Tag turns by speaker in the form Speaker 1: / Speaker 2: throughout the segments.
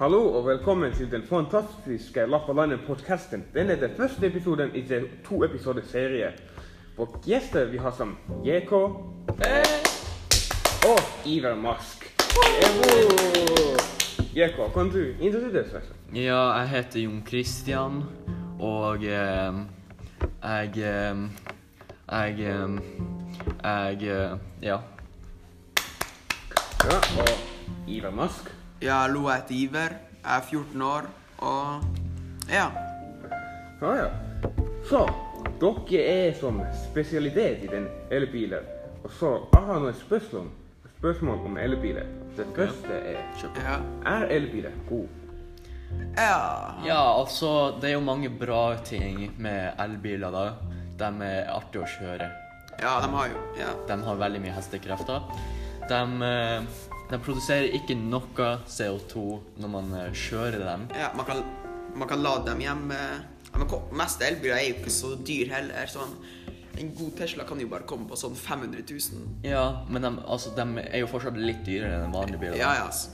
Speaker 1: Hallo og velkommen til den fantastiske Lapp og Landet-podkasten. Denne er den første episoden i en to-episode-serie. Og gjester vi har som JK og Iver Mask. Evo! JK, kan du introdusere deg?
Speaker 2: Ja, jeg heter Jon Christian, og eh, jeg eh, Jeg eh, Jeg eh, Ja.
Speaker 1: Ja, og Iver Mask.
Speaker 3: Ja, hallo, jeg heter Iver. Jeg er 14 år, og ja.
Speaker 1: Ja, ja. Så, dere er som spesialitet i den elbiler. Og så, jeg har noen spørsmål, spørsmål om elbiler. Det første er,
Speaker 2: Kjør på.
Speaker 3: Ja.
Speaker 1: er elbiler gode?
Speaker 3: ja.
Speaker 2: Ja, altså, det er jo mange bra ting med elbiler, da. De er artige å kjøre.
Speaker 3: Ja, de har jo ja.
Speaker 2: De har veldig mye hestekrefter. De, eh, de produserer ikke noe CO2 når man eh, kjører dem.
Speaker 3: ja man, kan, man kan lade dem hjemme. Ja, men ko- mest elbiler er jo ikke så dyr heller. Sånn. En god Tesla kan jo bare komme på sånn 500 000.
Speaker 2: Ja, men de, altså, de er jo fortsatt litt dyrere enn en vanlig bil. da.
Speaker 3: Ja, ja. s-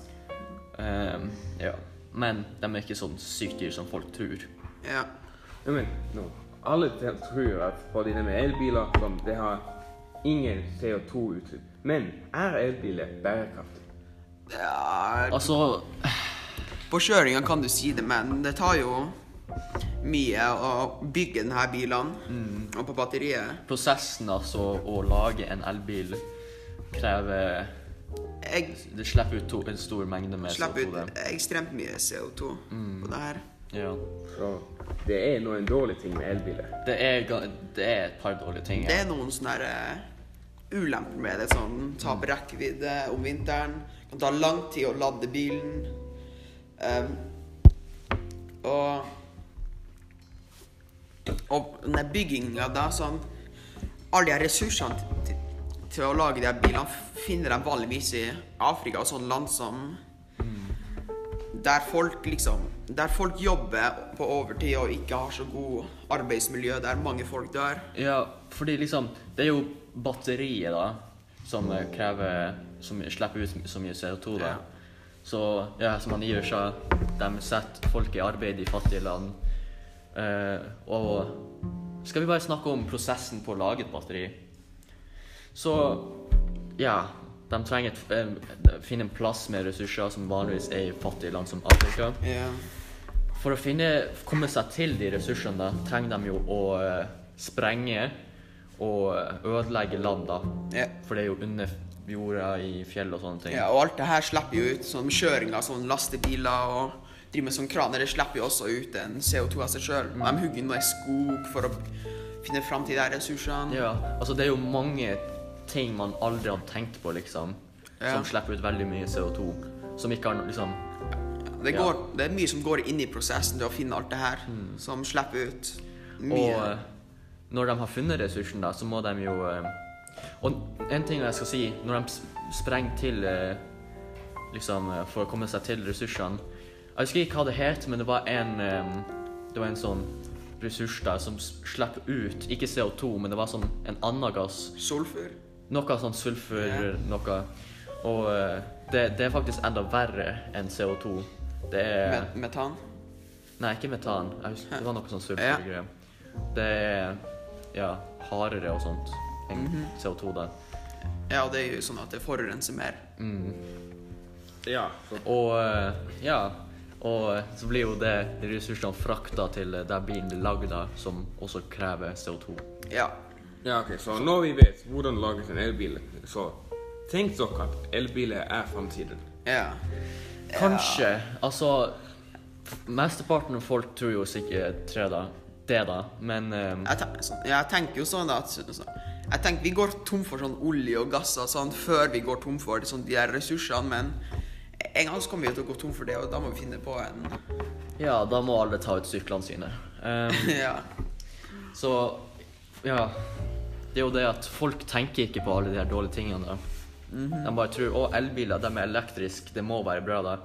Speaker 2: Ehm, ja. Men de er ikke sånn sykt dyre som folk tror.
Speaker 3: ja.
Speaker 1: Nei, men nå, alle te- tror at fordi de er elbiler, som det har ingen CO2-utslipp. Men er elbiler bærekraftige?
Speaker 3: ja.
Speaker 2: Altså,
Speaker 3: På kjøringa kan du si det, men det tar jo mye å bygge denne bilen. Og på batteriet.
Speaker 2: prosessen altså å lage en elbil krever
Speaker 3: Jeg
Speaker 2: Det slipper ut to, en stor mengde med
Speaker 3: slipper
Speaker 2: CO2.
Speaker 3: ut
Speaker 2: det.
Speaker 3: ekstremt mye CO2 på det her.
Speaker 2: Ja.
Speaker 1: Så det er noen dårlige ting med elbiler.
Speaker 2: Det er, ga- det er et par dårlige ting.
Speaker 3: Det
Speaker 2: Ja.
Speaker 3: er noen sånne her, eh, ulemper med det. Sånn tape rekkevidde om vinteren. Kan ta lang tid å lade bilen. Ehm, og Og den der bygginga, da, sånn Alle de her ressursene til, til å lage de her bilene finner de vanligvis i Afrika og sånne land som der folk liksom Der folk jobber på overtid og ikke har så god arbeidsmiljø, der mange folk dør.
Speaker 2: ja, fordi liksom Det er jo batteriet, da, som eh, krever Som slipper ut så mye CO2, da.
Speaker 3: Ja.
Speaker 2: Så ja, som han Iver sa, de setter folk i arbeid i fattige land. Eh, og skal vi bare snakke om prosessen på å lage et batteri? Så ja, de trenger et, eh, finne en plass med ressurser som vanligvis er i fattige land som Afrika.
Speaker 3: Ja.
Speaker 2: For å finne, komme seg til de ressursene da, trenger de jo å eh, sprenge og ødelegge land, da.
Speaker 3: Ja.
Speaker 2: For det er jo under jorda i fjell og sånne ting.
Speaker 3: ja, og alt det her slipper jo ut sånn kjøring av sånne lastebiler og driver med sånn kraner. Det slipper jo også ut en CO2 av seg sjøl. De hugger noe i skog for å finne fram til de her ressursene.
Speaker 2: Ja, altså det er jo mange ting man aldri hadde tenkt på, liksom.
Speaker 3: Ja.
Speaker 2: Som slipper ut veldig mye CO2. Som ikke har no- liksom
Speaker 3: Det,
Speaker 2: Ja. Mm.
Speaker 3: går, det er mye som går inn i prosessen til å finne alt det her, som slipper ut
Speaker 2: Og
Speaker 3: mye.
Speaker 2: eh, når de har funnet ressursen, da, så må de jo eh, Og en ting jeg skal si, når de s- sprenger til eh, Liksom eh, for å komme seg til ressursene Jeg husker ikke hva det het, men det var en eh, Det var en sånn ressurs da som s- slipper ut, ikke CO2, men det var sånn en annen gass
Speaker 3: Sulfur.
Speaker 2: Noe sånn sulfur,
Speaker 3: Ja.
Speaker 2: noe Og eh, det, det er faktisk enda verre enn CO2. Det er
Speaker 3: Met metan.
Speaker 2: Nei, ikke metan. Jeg husker, det var noe sånn
Speaker 3: Ja.
Speaker 2: sulfurgreie. Det er ja, hardere og sånt enn
Speaker 3: Mhm.
Speaker 2: CO2, da.
Speaker 3: Ja, og det er jo sånn at det forurenser mer.
Speaker 1: Ja, så
Speaker 2: Og eh, ja. Og eh, så blir jo det de ressursene frakta til eh, der bilen blir lagd av, som også krever CO2.
Speaker 3: Ja.
Speaker 1: Ja, ok, så når vi vet hvordan lages en elbil, så tenk dere at elbiler er fremtiden.
Speaker 3: Ja.
Speaker 2: Kanskje. Altså Mesteparten av folk tror jo sikkert tre da. det, da. Men eh,
Speaker 3: Jeg, ten sånn- ja, jeg tenker jo sånn at sånn- Jeg tenker Vi går tom for sånn olje og gasser sånn, før vi går tom for sånn, de her ressursene, men en gang så kommer vi jo til å gå tom for det, og da må vi finne på en
Speaker 2: Ja, da må alle ta ut syklene sine. Ehm,
Speaker 3: Ja.
Speaker 2: så ja. Det er jo det at folk tenker ikke på alle de her dårlige tingene. da. De bare tror å, elbiler de er elektriske, det må være bra, da.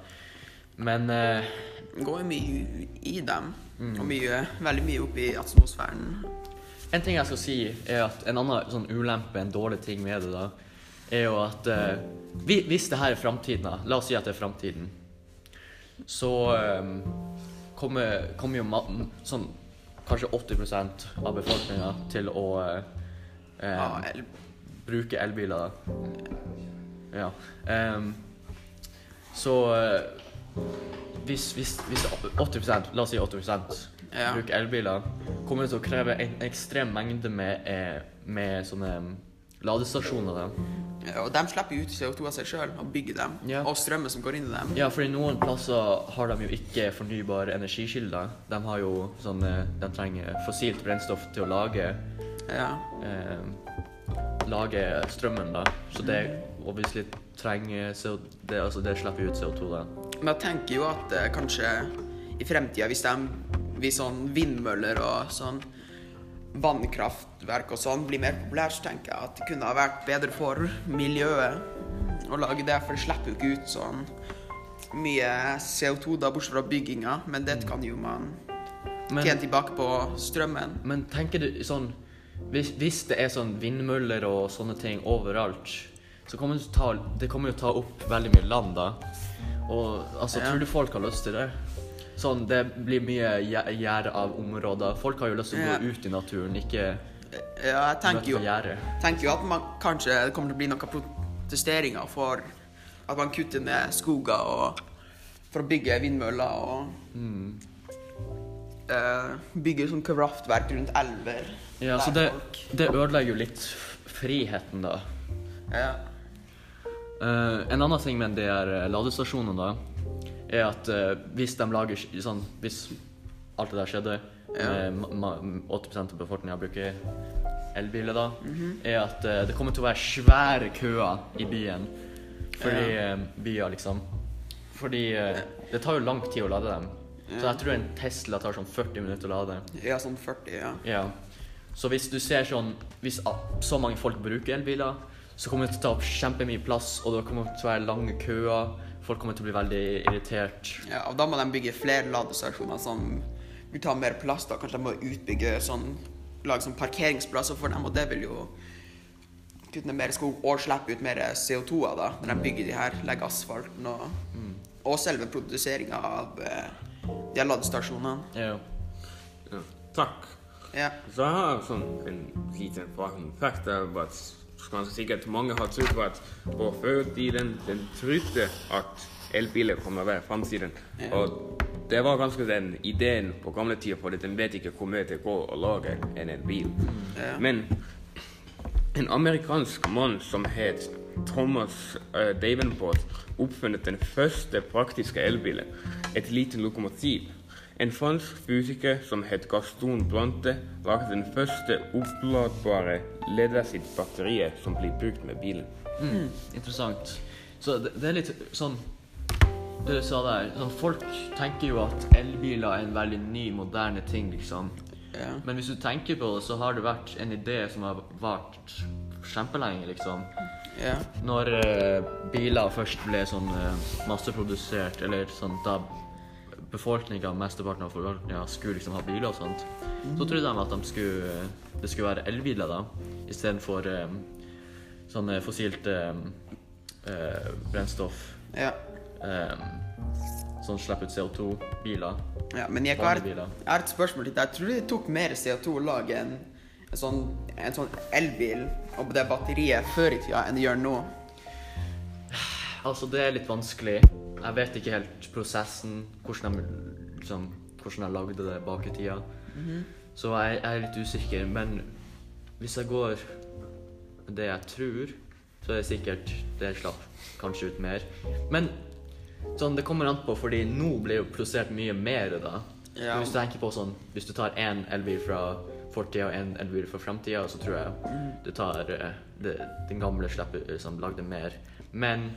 Speaker 2: Men eh,
Speaker 3: Det går jo mye i dem, og mye, veldig mye opp i atmosfæren.
Speaker 2: en ting jeg skal si, er at en annen sånn ulempe, en dårlig ting med det, da, er jo at eh, vi, Hvis det her er framtiden, da, la oss si at det er framtiden, så ehm, kommer, kommer jo maten sånn kanskje 80 av befolkninga til å eh, eh,
Speaker 3: Ja, el-
Speaker 2: bruke elbiler. Ja. ehm, så eh, hvis, hvis, hvis 80 la oss si 80
Speaker 3: Ja.
Speaker 2: bruker elbiler, kommer det til å kreve en ekstrem mengde med, eh, med sånne mm, ladestasjoner. Da.
Speaker 3: og de slipper jo ut CO2 av seg sjøl og bygger dem.
Speaker 2: Ja.
Speaker 3: Og strømmen som går inn i dem.
Speaker 2: Ja, fordi noen plasser har de jo ikke fornybare energikilder. De har jo sånn eh, De trenger fossilt brennstoff til å lage
Speaker 3: Ja.
Speaker 2: eh, Lage strømmen, da. Så det
Speaker 3: Mm.
Speaker 2: obviously trenger CO det, Altså, det slipper ut CO2, da.
Speaker 3: Men jeg tenker jo at eh, kanskje i fremtida, hvis de hvis sånn vindmøller og sånn vannkraftverk og sånn blir mer populært, så tenker jeg at det kunne ha vært bedre for miljøet å lage det, for det slipper jo ikke ut sånn mye CO2 da, bortsett fra bygginga, men det kan jo man tjene
Speaker 2: Men,
Speaker 3: tilbake på strømmen.
Speaker 2: men tenker du sånn hvis, hvis det er sånn vindmøller og sånne ting overalt, så kommer det, til å ta, det kommer jo ta opp veldig mye land, da. Og altså,
Speaker 3: Ja.
Speaker 2: tror du folk har lyst til det? Sånn, Det blir mye gje- gjerde av områder. Folk har jo lyst til å gå
Speaker 3: Ja.
Speaker 2: ut i naturen, ikke
Speaker 3: Ja, jeg tenker
Speaker 2: møte
Speaker 3: jo
Speaker 2: på gjerdet.
Speaker 3: tenker jo at man kanskje det kommer til å bli noen protesteringer for at man kutter ned skoger og for å bygge vindmøller og
Speaker 2: Mm.
Speaker 3: eh, bygge sånn kraftverk rundt elver.
Speaker 2: Ja, så det,
Speaker 3: der folk-
Speaker 2: det ødelegger jo litt f- friheten, da.
Speaker 3: Ja.
Speaker 2: Eh, en annen ting med de her eh, ladestasjonene, da, er at eh, hvis de lager sk- sånn Hvis alt det der skjedde,
Speaker 3: Ja.
Speaker 2: med ma- ma- 80 av befolkninga bruker elbiler, da, er at eh, det kommer til å være svære køer i byen. Fordi eh, byer, liksom. Fordi eh, det tar jo lang tid å lade dem. Så jeg tror en Tesla tar sånn 40 minutter å lade.
Speaker 3: ja, sånn 40, ja.
Speaker 2: Ja. Så hvis du ser sånn Hvis a- så mange folk bruker elbiler, så kommer det til å ta opp kjempemye plass, og det kommer til å være lange køer. Folk kommer til å bli veldig irritert.
Speaker 3: ja. Og da må de bygge flere ladestasjoner som vil ta mer plass. da. Kanskje de må utbygge sånn Lage sånn parkeringsplasser for dem, og det vil jo kutte ned mer skog og slippe ut mer CO2 av da, når de bygger de her, legger asfalten og Og selve produseringa av eh, de her ladestasjonene.
Speaker 2: Ja.
Speaker 1: Ja. Takk.
Speaker 3: Ja.
Speaker 1: Så jeg har sånn en liten fun fact om at kanskje sikkert mange har trodd på at på førtiden den trodde at elbiler kommer å være framtiden. Og det var ganske den ideen på gamle tider, for den vet ikke hvor mye det går å lage en elbil.
Speaker 3: Ja.
Speaker 1: Men en amerikansk mann som het Thomas eh, Davenport oppfunnet den første praktiske elbilen, et lite lokomotiv. En fransk fysiker som het Gaston Blante, laget den første oppladbare leddasitt-batteriet som blir brukt med bilen.
Speaker 2: Mm. Interessant. Så det, det er litt sånn Det du sa der sånn, Folk tenker jo at elbiler er en veldig ny, moderne ting, liksom.
Speaker 3: ja.
Speaker 2: Men hvis du tenker på det, så har det vært en idé som har vart kjempelenge, liksom.
Speaker 3: ja.
Speaker 2: Når eh, biler først ble sånn eh, masseprodusert, eller sånn da befolkninga, mesteparten av befolkninga, skulle liksom ha biler og sånt, så trodde de at de skulle, eh, det skulle være elbiler, da, istedenfor um, sånn eh, fossilt eh, eh, brennstoff.
Speaker 3: ja.
Speaker 2: eh, sånn slipp ut CO2-biler.
Speaker 3: ja. Men jeg har,
Speaker 2: Vanlige biler.
Speaker 3: jeg har et spørsmål til deg. Jeg tror det tok mer CO2 å lage en, en, sånn, en sånn elbil og det batteriet før i tida enn det gjør nå.
Speaker 2: Altså, det er litt vanskelig. Jeg vet ikke helt prosessen, hvordan de, liksom, hvordan de lagde det bak i tida. Så jeg, jeg er litt usikker, men hvis jeg går med det jeg tror, så er det sikkert det slapp kanskje ut mer. Men sånn, det kommer an på, fordi nå blir jo produsert mye mer da.
Speaker 3: Ja.
Speaker 2: Hvis du tenker på sånn, hvis du tar én elbil fra fortida og én elbil fra framtida, så tror jeg du tar eh, det, den gamle slipper, liksom, lagde mer. Men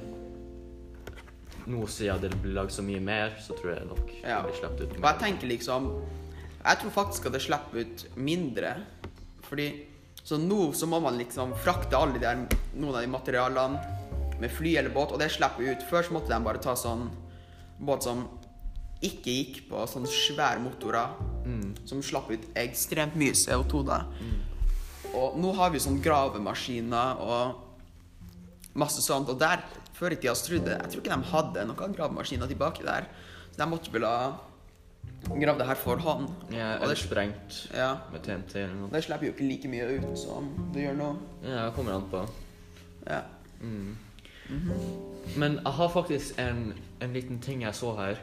Speaker 2: nå siden det blir lagd så mye mer, så tror jeg nok
Speaker 3: Ja.
Speaker 2: det blir sluppet ut
Speaker 3: Og jeg tenker liksom Jeg tror faktisk at det slipper ut mindre. Fordi Så nå så må man liksom frakte alle de der, noen av de materialene med fly eller båt, og det slipper ut. Før så måtte de bare ta sånn båt som ikke gikk på sånne svære motorer, som slapp ut ekstremt mye CO2 da. Og nå har vi sånn gravemaskiner og masse sånt. Og der, før i tida, så trodde jeg Jeg tror ikke de hadde noen gravemaskiner tilbake der. De måtte vel ha gravd det her for hånd.
Speaker 2: Ja,
Speaker 3: Og
Speaker 2: eller
Speaker 3: det,
Speaker 2: sprengt
Speaker 3: ja.
Speaker 2: med TNT eller noe.
Speaker 3: det slipper jo ikke like mye ut som det gjør nå.
Speaker 2: Ja, det kommer an på.
Speaker 3: Ja.
Speaker 2: Men jeg har faktisk en, en liten ting jeg så her.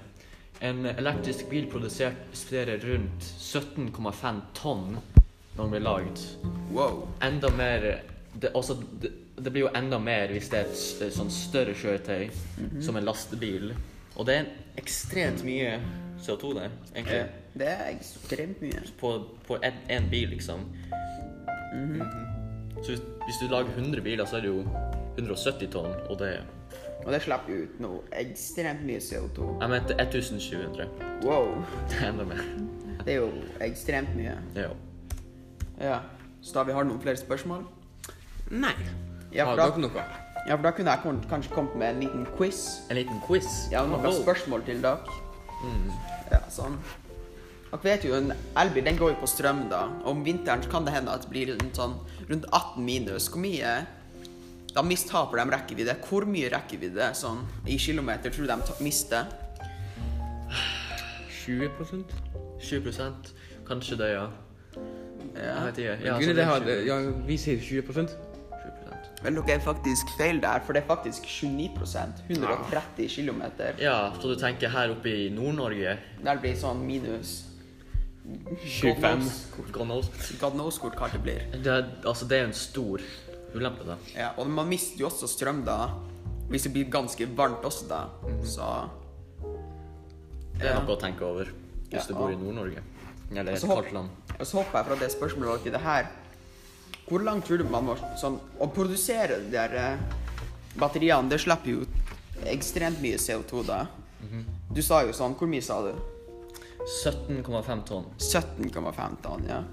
Speaker 2: En elektrisk bil produsert sprerer rundt 17,5 tonn når den blir lagd.
Speaker 3: Wow.
Speaker 2: Enda mer det, også, det, det blir jo enda mer hvis det er et s- sånn større kjøretøy,
Speaker 3: Mhm.
Speaker 2: som en lastebil. Og det er ekstremt mye CO2 der, egentlig.
Speaker 3: Eh, Det er ekstremt mye.
Speaker 2: På, på en, en bil, liksom. Mhm. Så hvis, hvis du lager 100 biler, så er det jo 170 tonn, og det er
Speaker 3: Og det slipper jo ut noe ekstremt mye CO2.
Speaker 2: Jeg mente 1700.
Speaker 3: Wow.
Speaker 2: Det er enda mer.
Speaker 3: Det er jo ekstremt mye.
Speaker 2: Ja.
Speaker 3: Ja. Så da vi har noen flere spørsmål?
Speaker 1: Nei.
Speaker 3: Ja,
Speaker 1: Har
Speaker 3: for da,
Speaker 1: dere noe?
Speaker 3: ja, for da kunne jeg kon- kanskje kommet med en liten quiz.
Speaker 2: En liten quiz.
Speaker 3: Ja, noen
Speaker 2: Wow.
Speaker 3: spørsmål til dere. Ja, sånn. Dere vet jo, en elbil den går jo på strøm, da. Om vinteren så kan det hende at det blir rundt, sånn, rundt 18 minus. Hvor mye Da mistaper de rekkevidde. Hvor mye rekkevidde sånn, i kilometer tror du de ta- mister?
Speaker 1: 20
Speaker 2: 20 Kanskje det, ja. Jeg
Speaker 3: Ja.
Speaker 2: vet ikke.
Speaker 1: ja,
Speaker 2: Ja,
Speaker 1: Gud, det
Speaker 2: så
Speaker 1: har,
Speaker 2: det er 20%.
Speaker 1: ja, Vi sier 20
Speaker 2: 20%.
Speaker 3: Vel, dere er faktisk feil der, for det er faktisk 29 130 kilometer.
Speaker 2: Ja, så du tenker her oppe i Nord-Norge
Speaker 3: Der blir sånn minus
Speaker 1: 25.
Speaker 2: God knows.
Speaker 3: God knows hvor kaldt det blir.
Speaker 2: Det er, altså, det er en stor ulempe, da.
Speaker 3: Ja, og man mister jo også strøm da, hvis det blir ganske varmt også da. Så,
Speaker 2: Mm. Det er noe å tenke over hvis
Speaker 3: Ja.
Speaker 2: du bor i Nord-Norge. Eller et
Speaker 3: Så håp-
Speaker 2: kaldt land.
Speaker 3: og så hopper jeg fra det spørsmålet over til det her. Hvor langt tror du man må sånn, Å produsere de der eh, batteriene, det slipper jo ekstremt mye CO2 da.
Speaker 2: Mhm.
Speaker 3: Du sa jo sånn Hvor mye sa du?
Speaker 2: 17,5 tonn.
Speaker 3: 17,5 tonn, ja.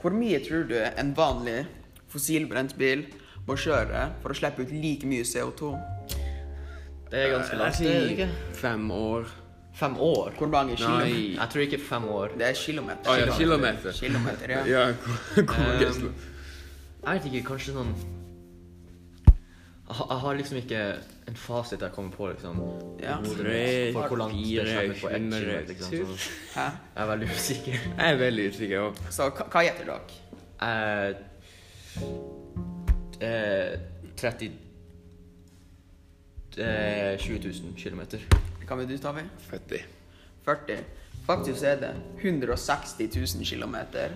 Speaker 3: Hvor mye tror du en vanlig fossilbrent bil må kjøre for å slippe ut like mye CO2?
Speaker 2: Det er ganske langt. Det er det Eh, ikke.
Speaker 1: fem år.
Speaker 2: Fem år?
Speaker 3: Hvor mange kilometer?
Speaker 1: Nei
Speaker 2: Jeg tror ikke fem år.
Speaker 3: Det er kilometer.
Speaker 1: Å ja, kilometer.
Speaker 3: Kilometer, ja.
Speaker 1: Ja, hvor hvor mange slo-
Speaker 2: Jeg vet ikke, kanskje sånn Jeg har- jeg har liksom ikke en fasit jeg kommer på, liksom.
Speaker 3: Ja.
Speaker 2: i hodet
Speaker 1: Tre,
Speaker 2: mitt For hvor langt det
Speaker 1: fire,
Speaker 2: slipper på ett kilometer. ikke sant,
Speaker 1: tusen.
Speaker 2: så
Speaker 3: Hæ?
Speaker 2: Jeg er veldig usikker.
Speaker 1: Jeg er veldig usikker. også.
Speaker 3: Så hva hva gjetter dere?
Speaker 2: Eh, eh, 30 eh, 20 000 kilometer.
Speaker 3: Hva vil du ta ved?
Speaker 1: 40.
Speaker 3: 40. Faktisk er det 160 000 kilometer.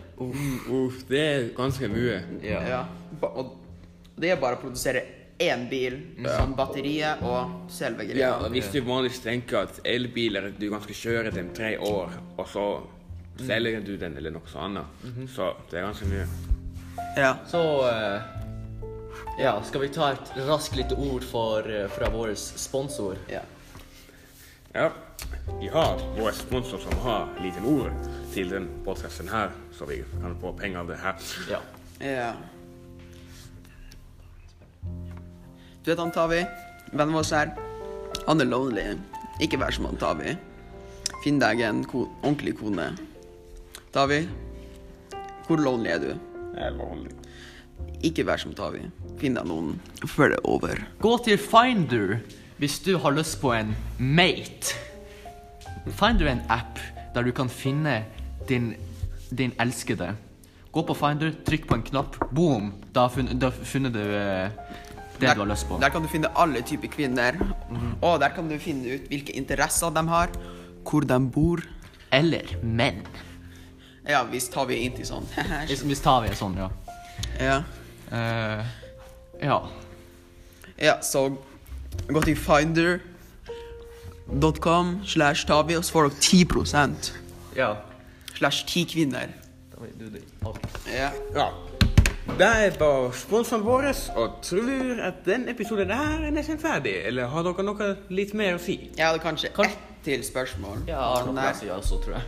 Speaker 1: Uff, det er ganske mye.
Speaker 2: Ja.
Speaker 3: Ja. Ba- Og det er bare å produsere én bil, sånn batteriet og selve
Speaker 1: Ja,
Speaker 3: greia.
Speaker 1: og Hvis du vanligvis tenker at elbiler du kan skal kjøre til om tre år, og så selger du den eller noe sånt annet, så det er ganske mye.
Speaker 3: Ja.
Speaker 2: Så eh, Ja, skal vi ta et raskt lite ord for, eh, fra vår sponsor?
Speaker 3: ja.
Speaker 1: Ja, vi har vår sponsor som har liten ord til den podcasten her, så vi kan få penger av det her.
Speaker 2: Ja.
Speaker 3: Ja. Du vet han Tavi? Vennen vår her. Han er lonely. Ikke vær som han Tavi. Finn deg en ko ordentlig kone. Tavi, hvor lonely er du?
Speaker 1: Det er vanlig.
Speaker 3: Ikke vær som Tavi. Finn deg noen før det er over.
Speaker 2: Gå til Finder hvis du har lyst på en mate. Finder er en app der du kan finne din, din elskede. Gå på Finder, trykk på en knapp, boom! Da har funnet, da har funnet du eh, det du har lyst på. Mhm.
Speaker 3: Der kan du finne alle typer kvinner. Og der kan du finne ut hvilke interesser de har, hvor de bor.
Speaker 2: Eller menn.
Speaker 3: Ja, hvis Tavi er inntil sånn.
Speaker 2: Hvis, hvis tar vi en sånn, ja.
Speaker 3: ja.
Speaker 2: Eh, ja.
Speaker 3: Ja, så gå til finder.com slash Tavi, og så får dere 10
Speaker 2: Ja.
Speaker 3: slash 10 kvinner.
Speaker 2: Da vil du det. Alt.
Speaker 3: Ja.
Speaker 1: Ja. Det er bare sponsoren vår, og tror at den episoden der er nesten ferdig. Eller har dere noe litt mer å si?
Speaker 3: Jeg hadde kanskje
Speaker 2: Kan-
Speaker 3: ett til spørsmål.
Speaker 2: Ja, jeg har
Speaker 3: Sånn
Speaker 2: noe
Speaker 3: der.
Speaker 2: å si også, tror jeg.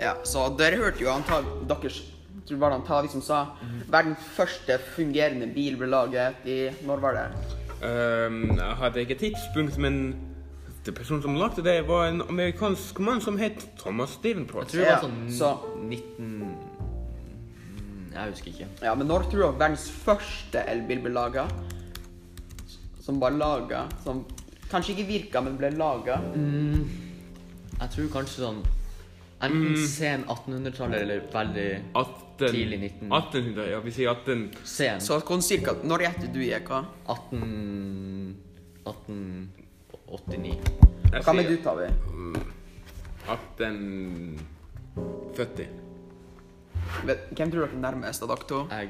Speaker 3: ja, så dere hørte jo antag... Deres tror det var det han Tavi som sa verdens første fungerende bil ble laget i Når var det?
Speaker 1: Ehm, jeg hadde ikke tidspunkt, men det personen som lagde det, var en amerikansk mann som het Thomas
Speaker 2: Jeg
Speaker 1: Stevenport.
Speaker 2: tror det
Speaker 3: Ja,
Speaker 2: var sånn
Speaker 3: så-
Speaker 2: 19... Mm, Jeg husker ikke.
Speaker 3: Ja, men når tror dere verdens første elbil ble laget? Som var laget Som kanskje ikke virka, men ble laget
Speaker 2: Jeg tror kanskje sånn Enten sen 1800-tallet eller veldig
Speaker 1: 18,
Speaker 2: Tidlig 19.
Speaker 1: 1800, ja, vi sier 18...
Speaker 2: sen.
Speaker 3: Så sånn cirka Når gjetter du, Eka?
Speaker 2: 18... 1889.
Speaker 1: Jeg
Speaker 3: Hva med du,
Speaker 1: sier
Speaker 3: Tavi?
Speaker 1: 1840.
Speaker 3: Vet- Hvem tror dere er nærmest av dere to?
Speaker 2: Jeg.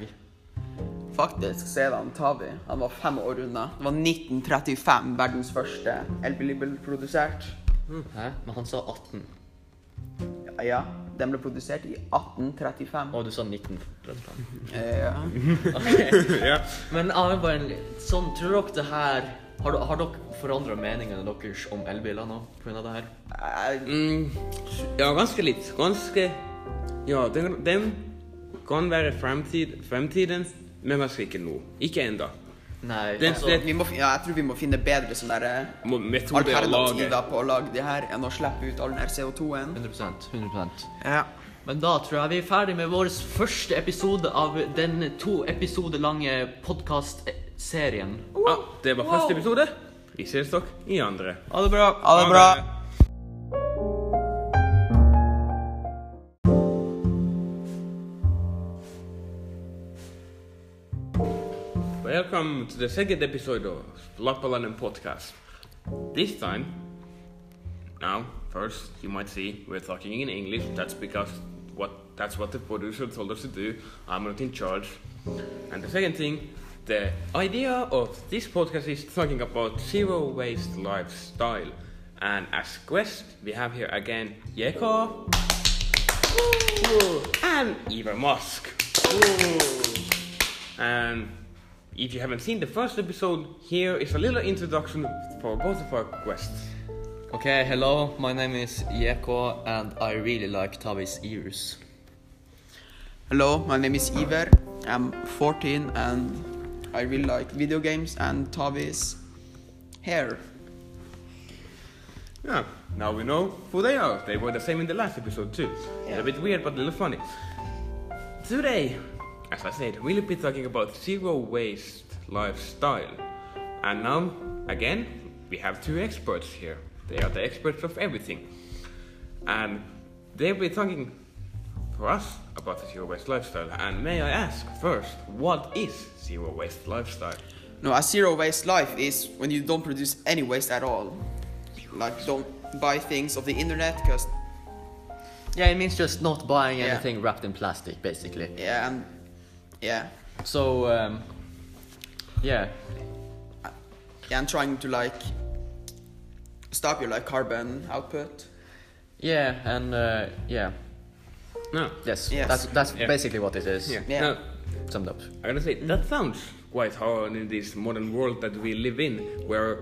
Speaker 3: Faktisk så er det han Tavi. Han var fem år unna. Det var 1935 verdens første LP ble produsert.
Speaker 2: Hæ? Men han sa 18.
Speaker 3: Ja, ja, den ble produsert i 1835.
Speaker 2: Og du sa 1935.
Speaker 3: Eh, Ja.
Speaker 2: Ok.
Speaker 1: ja.
Speaker 2: Men jeg vil bare en li- sånn, tror dere det her Har, dere- har dere forandra meningene deres om elbiler nå pga. det her?
Speaker 3: Eh,
Speaker 1: Mm, ja, ganske litt. Ganske Ja, den, den kan være fremtid, fremtiden, men ganske ikke nå. Ikke ennå.
Speaker 2: Nei,
Speaker 1: Det-
Speaker 2: altså
Speaker 1: det-
Speaker 3: Vi må, fin- ja, jeg tror vi må finne bedre sånne der, eh,
Speaker 1: Må- Metoder å lage
Speaker 3: alternativer på å lage de her enn å slippe ut all den her CO2-en.
Speaker 2: 100 100
Speaker 3: Ja.
Speaker 2: Men da tror jeg vi er ferdig med vår første episode av den to episode lange podkast-serien.
Speaker 1: Ja, Ah, Det var første episode. Vi ses dere i andre.
Speaker 3: Ha det bra. Ha det bra.
Speaker 1: Welcome to the second episode of Lapalainen podcast. This time, now first you might see we're talking in English. That's because what that's what the producer told us to do. I'm not in charge. And the second thing, the idea of this podcast is talking about zero waste lifestyle. And as guest, we have here again Jeko Woo. and Eva Musk. And if you haven't seen the first episode, here is a little introduction for both of our guests.
Speaker 2: Ok, hello, my name is Yeko, and I really like Tavis ears.
Speaker 3: Hello, my name is Iver. I'm 14 and I really like video games and Tavi's hair.
Speaker 1: Yeah, now we know who they are. They were the same in the last episode too.
Speaker 3: Yeah.
Speaker 1: A bit weird, but a little funny. Today, as I said, we'll be talking about zero waste lifestyle. And now, again, we have two experts here. They are the experts of everything. And they'll be talking for us about the zero waste lifestyle. And may I ask first, what is zero waste lifestyle?
Speaker 3: No, a zero waste life is when you don't produce any waste at all. Like, don't buy things off the internet because,
Speaker 2: Yeah, it means just not buying
Speaker 3: Yeah.
Speaker 2: anything wrapped in plastic, basically.
Speaker 3: yeah, and yeah.
Speaker 2: So, um, yeah,
Speaker 3: Yeah, and trying to like stop your like carbon output.
Speaker 2: yeah, and uh, yeah,
Speaker 1: No.
Speaker 2: yes,
Speaker 3: Yes.
Speaker 2: that's that's
Speaker 1: Yeah.
Speaker 2: basically what it is.
Speaker 1: Yeah.
Speaker 3: Yeah.
Speaker 1: No,
Speaker 2: Summed up.
Speaker 1: I'm gonna say that sounds quite hard in this modern world that we live in, where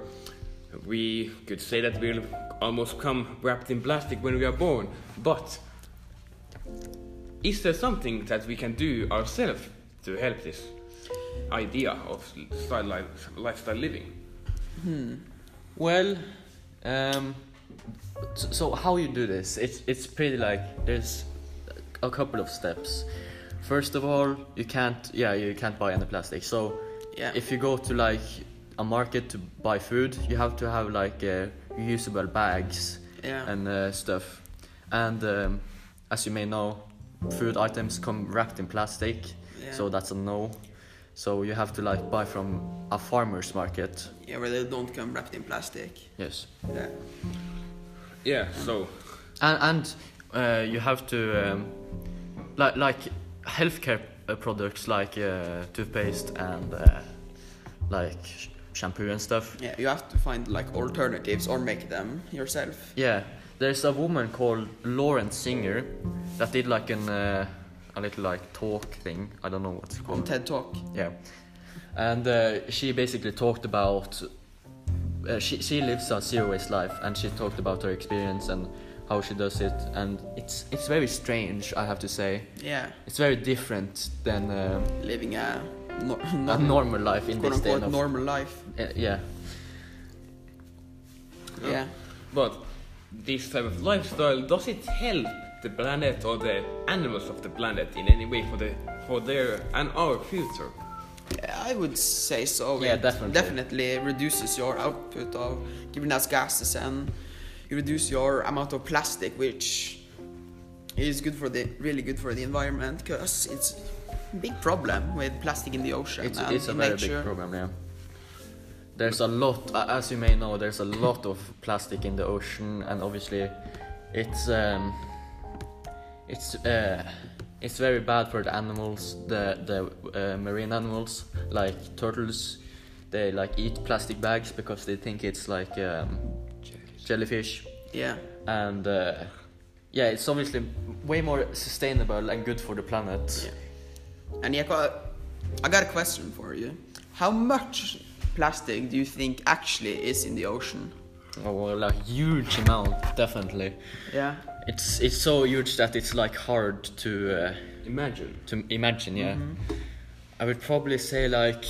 Speaker 1: we could say that we almost come wrapped in plastic when we are born. But is there something that we can do ourselves to help this idea of style life, lifestyle living?
Speaker 2: Well, um, so, so how you do this? It's it's pretty like there's a couple of steps. First of all, you can't yeah you can't buy any plastic. So
Speaker 3: Yeah.
Speaker 2: if you go to like a market to buy food, you have to have like uh, reusable bags
Speaker 3: Yeah.
Speaker 2: and uh, stuff. And um, as you may know, food items come wrapped in plastic, so
Speaker 3: Yeah.
Speaker 2: that's a no. So you have to like buy from a farmer's market.
Speaker 3: Yeah, where they don't come wrapped in plastic.
Speaker 2: Yes.
Speaker 3: Yeah.
Speaker 1: Yeah. So
Speaker 2: And, and uh, you have to um, like like healthcare uh, products like uh, toothpaste and uh, like sh- shampoo and stuff.
Speaker 3: Yeah, you have to find like alternatives or make them yourself.
Speaker 2: Yeah, there's a woman called Lauren Singer that did like an uh, a little like talk thing. I don't know what it's
Speaker 3: On
Speaker 2: called.
Speaker 3: TED Talk.
Speaker 2: Yeah, and uh, she basically talked about uh, she she lives a zero waste life, and she talked about her experience and how she does it, and it's it's very strange, I have to say.
Speaker 3: Yeah,
Speaker 2: It's very different than uh,
Speaker 3: living a, nor
Speaker 2: a normal life in
Speaker 3: quote
Speaker 2: this day.
Speaker 3: unquote
Speaker 2: and of-
Speaker 3: normal life.
Speaker 2: Uh, yeah,
Speaker 1: Yeah.
Speaker 3: Yeah.
Speaker 1: But this type of lifestyle does it help the planet or the animals of the planet in any way for the for their and our future?
Speaker 3: Yeah, I would say so.
Speaker 2: Yeah,
Speaker 3: it
Speaker 2: definitely.
Speaker 3: Definitely reduces your output of greenhouse gases and you reduce your amount of plastic, which is good for the really good for the environment because it's a big problem with plastic in the ocean
Speaker 2: It's,
Speaker 3: and
Speaker 2: it's a
Speaker 3: in
Speaker 2: very
Speaker 3: nature.
Speaker 2: big problem, yeah. There's a lot, a- as you may know, there's a lot of plastic in the ocean, and obviously, it's um, it's uh, it's very bad for the animals, the the uh, marine animals like turtles. They like eat plastic bags because they think it's like um, jellyfish,
Speaker 3: Yeah,
Speaker 2: and uh, yeah, it's obviously way more sustainable and good for the planet.
Speaker 3: yeah. And yeah, I got a question for you. How much plastic do you think actually is in the ocean?
Speaker 2: Oh, well, a huge amount, definitely.
Speaker 3: Yeah.
Speaker 2: It's it's so huge that it's like hard to uh,
Speaker 1: Imagine.
Speaker 2: to imagine. Yeah, I would probably say like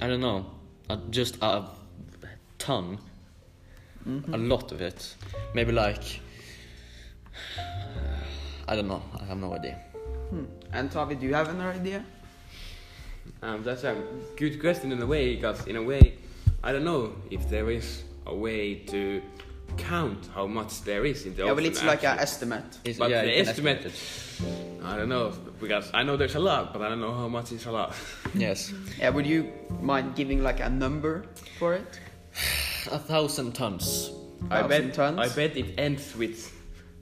Speaker 2: I don't know, uh, just a ton, a lot of it. Maybe like I don't know. I have no idea.
Speaker 3: And Tavi, do you have an idea?
Speaker 1: Um, that's a good question in a way, because in a way, I don't know if there is a way to count how much there is in the
Speaker 3: Yeah, well,
Speaker 1: ocean
Speaker 3: it's like an
Speaker 1: actually.
Speaker 3: estimate.
Speaker 2: It's-
Speaker 1: But
Speaker 2: yeah,
Speaker 1: the
Speaker 2: you can
Speaker 1: estimate-
Speaker 2: estimate
Speaker 1: I don't know because I know there's a lot, but I don't know how much is a lot.
Speaker 2: it. Yes,
Speaker 3: Yeah, would you mind giving like a number for it?
Speaker 2: a thousand tons.
Speaker 1: I
Speaker 3: Thousand
Speaker 1: bet.
Speaker 3: tons?
Speaker 1: I bet it ends with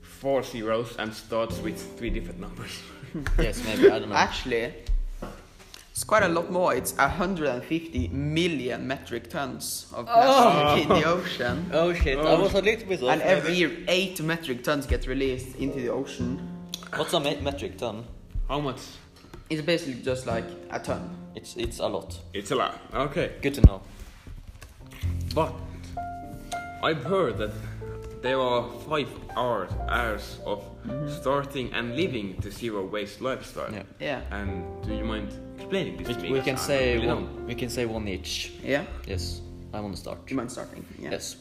Speaker 1: four zeros and starts with three different numbers.
Speaker 2: Yes, maybe I don't know.
Speaker 3: Actually, it's quite a lot more. It's 150 million metric tons of plastic in the ocean.
Speaker 2: Oh shit! I was a little bit off.
Speaker 3: And every year, 8 metric tons get released into the ocean.
Speaker 2: What's a me- metric ton?
Speaker 1: How much?
Speaker 3: It's basically just like a ton.
Speaker 2: It's it's a lot.
Speaker 1: It's a lot. Okay,
Speaker 2: Good to know.
Speaker 1: but I've heard that there are five hours hours of starting and living the zero waste lifestyle.
Speaker 2: Mm-hmm. Yeah.
Speaker 3: Yeah.
Speaker 1: And do you mind explaining this to me?
Speaker 2: We, we can
Speaker 1: I
Speaker 2: say
Speaker 1: really don't.
Speaker 2: one, we can say one each.
Speaker 3: Yeah?
Speaker 2: Yes, I want to start.
Speaker 3: Do you mind starting? Yeah.
Speaker 2: Yes.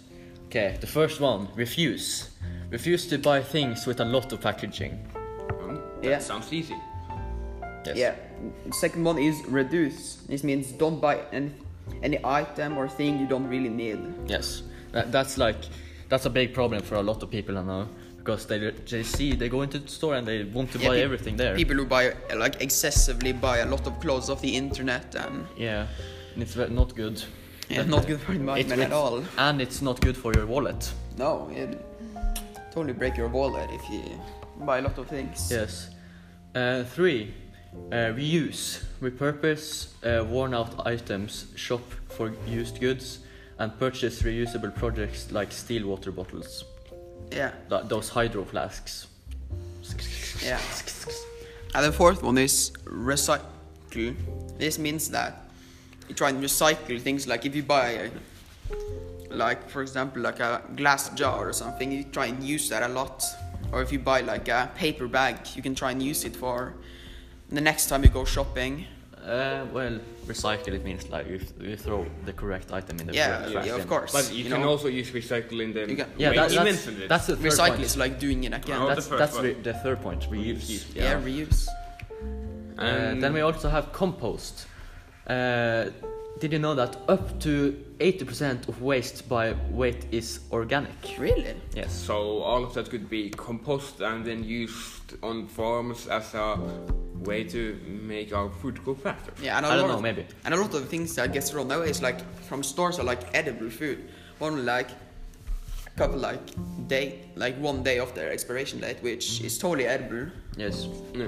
Speaker 2: Okay, the first one, refuse. Refuse to buy things with a lot of packaging.
Speaker 1: Um, that
Speaker 3: Yeah.
Speaker 1: sounds easy.
Speaker 2: Yes.
Speaker 3: Yeah. Second one is reduce. This means don't buy any, any item or thing you don't really need.
Speaker 2: Yes. That, that's like that's a big problem for a lot of people I know because they they see they go into the store and they want to
Speaker 3: Yeah,
Speaker 2: buy
Speaker 3: peop-
Speaker 2: everything there.
Speaker 3: People who buy like excessively buy a lot of clothes off the internet and
Speaker 2: Yeah. And it's ve- not good.
Speaker 3: it's not good for the
Speaker 2: It's-
Speaker 3: environment at
Speaker 2: it's-
Speaker 3: all.
Speaker 2: And it's not good for your wallet.
Speaker 3: No, it totally break your wallet if you buy a lot of things.
Speaker 2: Yes. Uh, three, uh, reuse, repurpose uh, worn out items, shop for used goods, and purchase reusable projects like steel water bottles,
Speaker 3: Yeah.
Speaker 2: th- those hydro flasks.
Speaker 3: Yeah. And the fourth one is recycle. This means that you try and recycle things like if you buy like for example like a glass jar or something, you try and use that a lot. Or if you buy like a paper bag, you can try and use it for the next time you go shopping.
Speaker 2: Uh, well, recycle it means like you, th- you throw the correct item in the
Speaker 3: Yeah,
Speaker 2: correct
Speaker 3: yeah,
Speaker 2: trash
Speaker 3: of
Speaker 2: bin.
Speaker 3: course.
Speaker 1: But you,
Speaker 3: you
Speaker 1: can
Speaker 3: know.
Speaker 1: also use recycling them.
Speaker 3: You can-
Speaker 2: Yeah,
Speaker 1: Wait,
Speaker 2: that,
Speaker 1: you
Speaker 2: that's,
Speaker 1: mentioned it.
Speaker 2: that's the third
Speaker 3: Recycle
Speaker 2: point.
Speaker 3: is like doing it again.
Speaker 1: Oh,
Speaker 2: that's
Speaker 1: the first
Speaker 2: that's
Speaker 1: one.
Speaker 2: re- the third point. Reuse.
Speaker 1: Reuse,
Speaker 3: yeah. reuse.
Speaker 2: Uh,
Speaker 1: And-
Speaker 3: Um,
Speaker 2: then we also have compost. Uh, did you know that up to 80% of waste by weight is organic?
Speaker 3: Really?
Speaker 2: Yes.
Speaker 1: So all of that could be composted and then used on farms as a way to make our food go faster.
Speaker 3: Yeah, and a
Speaker 2: I don't
Speaker 3: lot
Speaker 2: know,
Speaker 3: of-
Speaker 2: maybe.
Speaker 3: And a lot of things that gets thrown away is like from stores are like edible food. One like a couple like day like one day of their expiration date, which is totally edible.
Speaker 2: Yes.
Speaker 1: Yeah.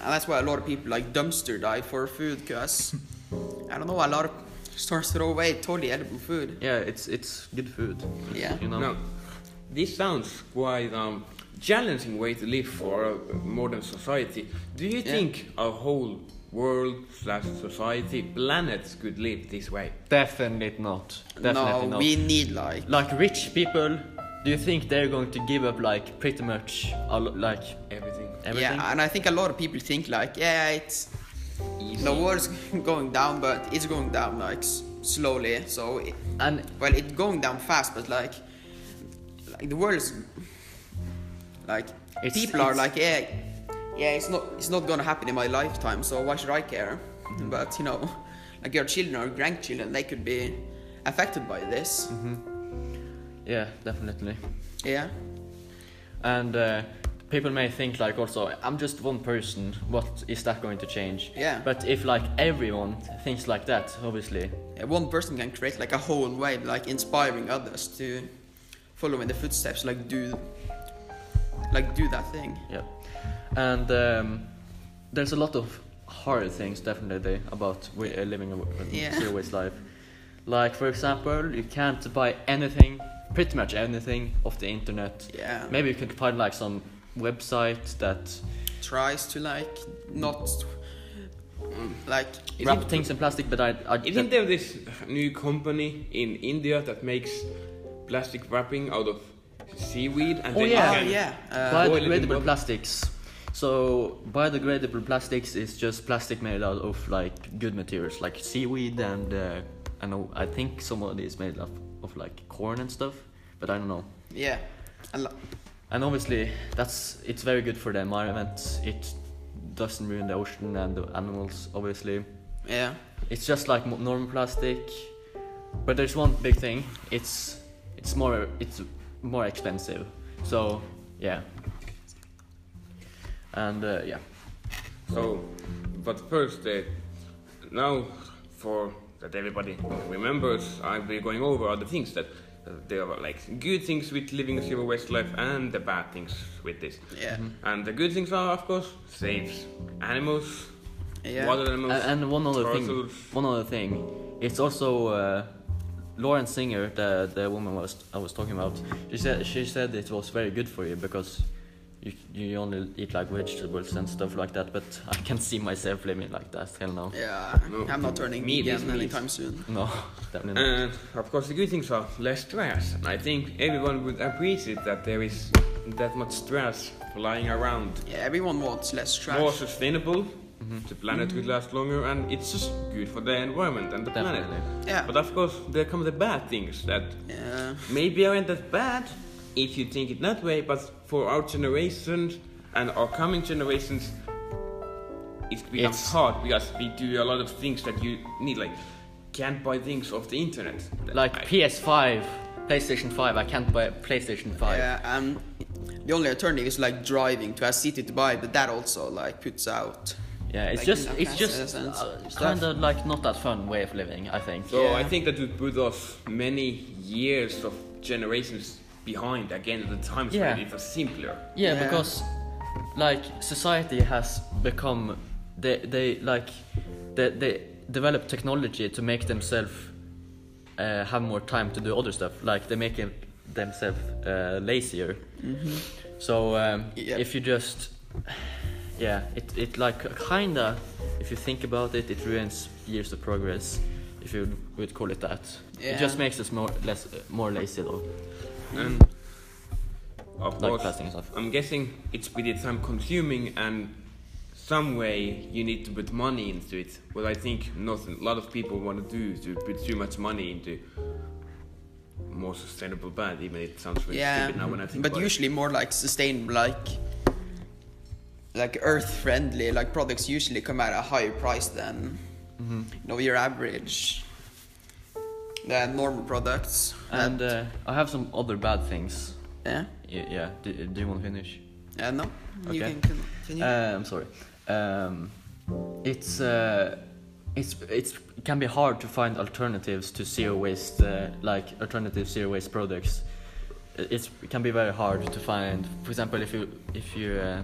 Speaker 3: And that's why a lot of people like dumpster dive for food because I don't know, a lot of stores throw away totally edible food.
Speaker 2: Yeah, it's it's good food.
Speaker 3: Yeah.
Speaker 2: You know.
Speaker 1: Now, this sounds quite um, challenging way to live for a modern society. Do you
Speaker 3: Yeah.
Speaker 1: think a whole world slash society planets could live this way?
Speaker 2: Definitely not. Definitely
Speaker 3: no,
Speaker 2: not.
Speaker 3: we need like
Speaker 2: Like rich people, do you think they're going to give up like pretty much a lo- like
Speaker 1: Everything.
Speaker 2: everything?
Speaker 3: Yeah, and I think a lot of people think like, yeah, it's the world's going down, but it's going down like s- slowly. So it,
Speaker 2: And
Speaker 3: well it's going down fast but like like the world is like
Speaker 2: It's-
Speaker 3: people are
Speaker 2: it's-
Speaker 3: like yeah yeah it's not it's not gonna happen in my lifetime so why should i care
Speaker 2: Mm-hmm.
Speaker 3: but you know
Speaker 2: Mm-hmm.
Speaker 3: like your children or grandchildren they could be affected by this
Speaker 2: Yeah, definitely.
Speaker 3: Yeah.
Speaker 2: And uh, people may think like also, I'm just one person. What is that going to change?
Speaker 3: Yeah.
Speaker 2: But if like everyone thinks like that, obviously.
Speaker 3: Yeah, One person can create like a whole wave, like inspiring others to follow in the footsteps, like do, like do that thing.
Speaker 2: Yeah. And um, there's a lot of hard things definitely about wi- uh, living a w- a
Speaker 3: Yeah.
Speaker 2: zero waste life. Like for example, you can't buy anything, pretty much anything, off the internet.
Speaker 3: Yeah.
Speaker 2: Maybe you could find like some website that
Speaker 3: Tries to like not mm, like
Speaker 2: wrap things in plastic, but I, I
Speaker 1: Isn't there this new company in India that makes plastic wrapping out of seaweed and
Speaker 2: Oh,
Speaker 1: then
Speaker 2: yeah.
Speaker 1: you
Speaker 3: Oh,
Speaker 1: can
Speaker 3: yeah. Uh,
Speaker 1: Boil it in
Speaker 2: biodegradable
Speaker 1: water.
Speaker 2: plastics. So biodegradable plastics is just plastic made out of like good materials, like seaweed and uh, I know I think some of it is made of, of like corn and stuff, but I don't know.
Speaker 3: yeah. A lo-
Speaker 2: And obviously that's it's very good for the environment. It doesn't ruin the ocean and the animals. Obviously,
Speaker 3: yeah.
Speaker 2: it's just like mo- normal plastic, but there's one big thing. It's it's more it's more expensive. So yeah. And uh, yeah.
Speaker 1: So, but first, uh, now for that everybody remembers, I'll be going over other things that uh, there are like good things with living a zero waste life and the bad things with this.
Speaker 3: Yeah.
Speaker 2: Mm-hmm.
Speaker 3: Mhm.
Speaker 1: And the good things are, of course, saves animals,
Speaker 3: Yeah.
Speaker 1: water
Speaker 2: A-
Speaker 1: animals,
Speaker 2: And, one other
Speaker 1: turtles.
Speaker 2: thing, one other thing, it's also uh, Lauren Singer, the the woman was I was talking about. She said she said it was very good for you because you you only eat like vegetables and stuff like that. But I can't see myself living like that. Hell no,
Speaker 3: Yeah.
Speaker 1: No.
Speaker 3: I'm not turning
Speaker 1: Meat is
Speaker 3: vegan
Speaker 1: meat.
Speaker 3: anytime soon.
Speaker 2: no, definitely not.
Speaker 1: And of course, the good things are less stress. And I think everyone would appreciate that there is that much stress flying around.
Speaker 3: Yeah. Everyone wants less trash.
Speaker 1: More sustainable,
Speaker 2: Mm-hmm.
Speaker 1: the planet will last longer, and it's just good for the environment and the planet.
Speaker 2: Definitely.
Speaker 3: Yeah.
Speaker 1: But of course, there come the bad things that
Speaker 3: Yeah.
Speaker 1: maybe aren't that bad if you think it that way, but for our generation and our coming generations, it becomes
Speaker 2: It's-
Speaker 1: hard because we do a lot of things that you need, like can't buy things off the internet. I-
Speaker 2: Like PS5, PlayStation 5. I can't buy a PlayStation 5.
Speaker 3: Yeah, um, the only alternative is like driving to a city to buy, but that also like puts out.
Speaker 2: Yeah, it's
Speaker 3: Like,
Speaker 2: just
Speaker 3: no
Speaker 2: it's just
Speaker 3: classes and
Speaker 2: uh,
Speaker 3: stuff.
Speaker 2: kind of like not that fun way of living. I think.
Speaker 1: So
Speaker 3: Yeah.
Speaker 1: I think that would put us many years of generations behind again at the times
Speaker 2: Yeah.
Speaker 1: when it was simpler.
Speaker 2: Yeah,
Speaker 3: Yeah.
Speaker 2: because like society has become they they like they they develop technology to make themselves uh, have more time to do other stuff. Like they make them- themselves uh, lazier. So um,
Speaker 3: Yep.
Speaker 2: if you just yeah, it it like kinda if you think about it, it ruins years of progress. If you would call it that, it
Speaker 3: Yeah.
Speaker 2: just makes us more less more lazy though.
Speaker 1: And of
Speaker 2: Like
Speaker 1: course,
Speaker 2: plastic and stuff.
Speaker 1: I'm guessing it's pretty time consuming and some way you need to put money into it. What I think not a lot of people want to do is to put too much money into more sustainable band, even it sounds really
Speaker 3: Yeah,
Speaker 1: stupid now when I think
Speaker 3: but
Speaker 1: about it.
Speaker 3: usually more like sustainable, like like earth friendly. Like products usually come at a higher price than
Speaker 1: Mm-hmm.
Speaker 3: you know your average than normal products.
Speaker 2: And uh, I have some other bad things.
Speaker 3: yeah,
Speaker 2: Y- Yeah, do, do you want to finish?
Speaker 3: yeah, no, you
Speaker 2: Okay.
Speaker 3: can, can, can you?
Speaker 2: Uh, I'm sorry. Um, it's uh, it's it's it can be hard to find alternatives to zero waste, uh, like alternative zero waste products. I- It's, it can be very hard to find. For example, if you if you uh,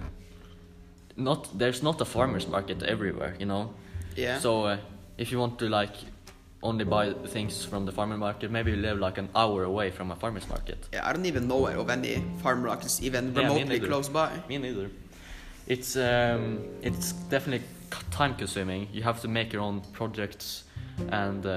Speaker 2: not there's not a farmers market everywhere, you know.
Speaker 3: yeah,
Speaker 2: So uh, if you want to like only buy things from the farmer market, maybe you live like an hour away from a farmers market.
Speaker 3: yeah, I don't even know of any farm markets even
Speaker 2: Yeah, me
Speaker 3: remotely
Speaker 2: neither.
Speaker 3: close by.
Speaker 2: Me neither. It's um, it's definitely time consuming. You have to make your own projects, and uh,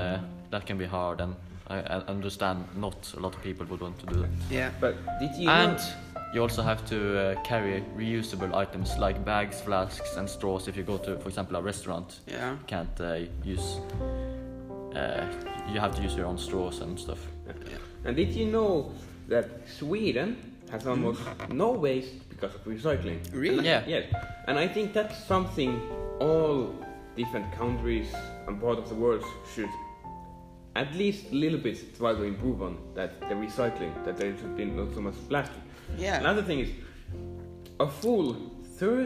Speaker 2: that can be hard. And I, I understand not a lot of people would want to do that.
Speaker 3: Yeah,
Speaker 1: But did you
Speaker 2: And
Speaker 1: know-
Speaker 2: you also have to uh, carry reusable items like bags, flasks, and straws if you go to, for example, a restaurant.
Speaker 3: yeah,
Speaker 2: You can't uh, use. Uh, you have to use your own straws and stuff.
Speaker 1: And did you know that Sweden has almost no waste because of recycling?
Speaker 3: Really?
Speaker 1: And-
Speaker 2: Yeah.
Speaker 1: Yes. And I think that's something all different countries and part of the world should at least a little bit try to improve on that the recycling that there should be not so much plastic.
Speaker 3: Yeah.
Speaker 1: Another thing is a full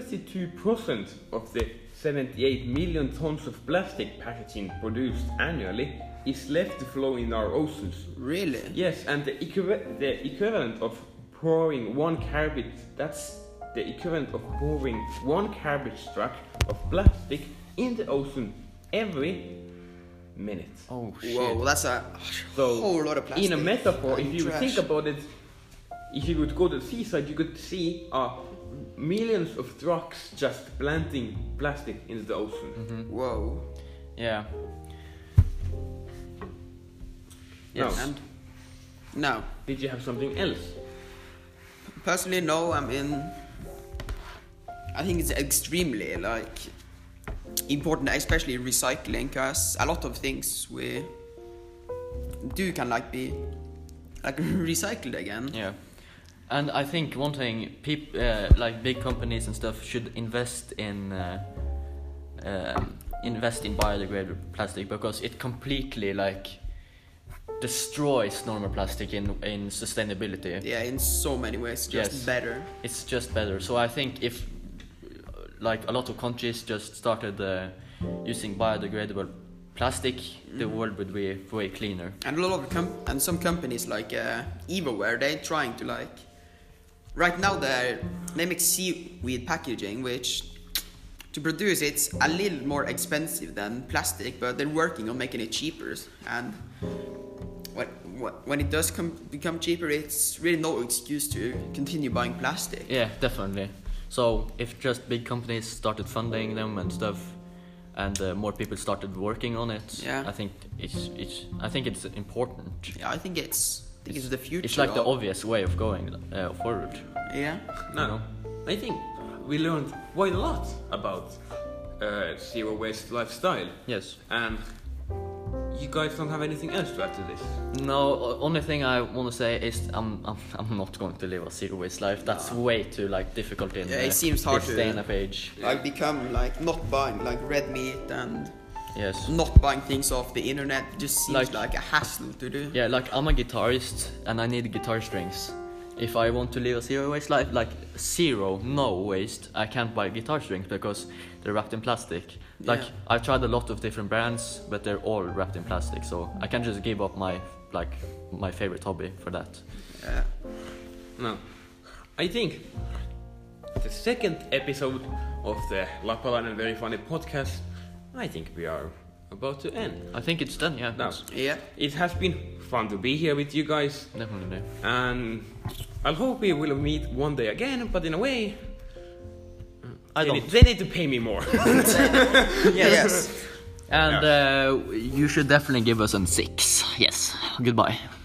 Speaker 1: 32% of the 78 million tons of plastic packaging produced annually is left to flow in our oceans.
Speaker 3: Really?
Speaker 1: Yes, and the, equiv- the equivalent of pouring one cabbage, that's the equivalent of pouring one cabbage truck of plastic in the ocean every minute.
Speaker 2: Oh shit.
Speaker 3: Whoa, that's a
Speaker 1: So,
Speaker 3: whole lot of plastic.
Speaker 1: in a metaphor, if
Speaker 3: and
Speaker 1: you
Speaker 3: trash.
Speaker 1: think about it, if you would go to the seaside, you could see uh, millions of trucks just planting plastic into the ocean.
Speaker 3: Mm-hmm. Whoa.
Speaker 2: Yeah.
Speaker 1: Now,
Speaker 2: Yes.
Speaker 3: And no,
Speaker 1: did you have something else?
Speaker 3: personally, no. I mean, I think it's extremely like important, especially recycling, because a lot of things we do can like be like recycled again.
Speaker 2: Yeah. And I think one thing, peop- uh, like big companies and stuff, should invest in uh, um, invest in biodegradable plastic because it completely like destroys normal plastic in in sustainability.
Speaker 3: Yeah, in so many ways, just
Speaker 2: Yes.
Speaker 3: better.
Speaker 2: It's just better. So I think if uh, like a lot of countries just started uh, using biodegradable plastic, the
Speaker 3: Mm.
Speaker 2: world would be way cleaner.
Speaker 3: And a lot of com- and some companies like uh, Evoware, they're trying to like. Right now, they're, they make seaweed packaging, which to produce it's a little more expensive than plastic, but they're working on making it cheaper. And when, when it does come become cheaper, it's really no excuse to continue buying plastic.
Speaker 2: Yeah, definitely. So if just big companies started funding them and stuff, and uh, more people started working on it,
Speaker 3: Yeah.
Speaker 2: I think it's it's I think it's important.
Speaker 3: Yeah, I think it's I think it's, the future.
Speaker 2: It's like the
Speaker 3: of-
Speaker 2: obvious way of going uh, forward.
Speaker 3: yeah.
Speaker 1: No, I think we learned quite a lot about uh, zero waste lifestyle.
Speaker 2: Yes.
Speaker 1: And you guys don't have anything else to add to this?
Speaker 2: No, o- only thing I want to say is I'm, I'm I'm not going to live a zero waste life. That's way too like difficult in
Speaker 3: Yeah, it
Speaker 2: uh,
Speaker 3: seems hard
Speaker 2: this
Speaker 3: to-
Speaker 2: day and age.
Speaker 3: Like become like not buying like red meat and
Speaker 2: Yes.
Speaker 3: not buying things off the internet just seems like,
Speaker 2: Like-
Speaker 3: a hassle to do.
Speaker 2: Yeah, like I'm a guitarist and I need guitar strings. If I want to live a zero waste life, like zero, no waste, I can't buy guitar strings because they're wrapped in plastic. Like
Speaker 3: Yeah.
Speaker 2: I've tried a lot of different brands, but they're all wrapped in plastic, so I can't just give up my like my favorite hobby for that.
Speaker 3: Yeah.
Speaker 1: No. I think the second episode of the Lapalan and Very Funny podcast, I think we are about to end.
Speaker 2: I think it's done, yeah.
Speaker 1: Now,
Speaker 3: Yeah.
Speaker 1: it has been fun to be here with you guys,
Speaker 2: Definitely.
Speaker 1: and I hope we will meet one day again, but in a way,
Speaker 2: I
Speaker 1: they
Speaker 2: don't.
Speaker 1: need, they need to pay me more.
Speaker 3: Yes.
Speaker 2: And uh, you should definitely give us a six. Yes. Goodbye.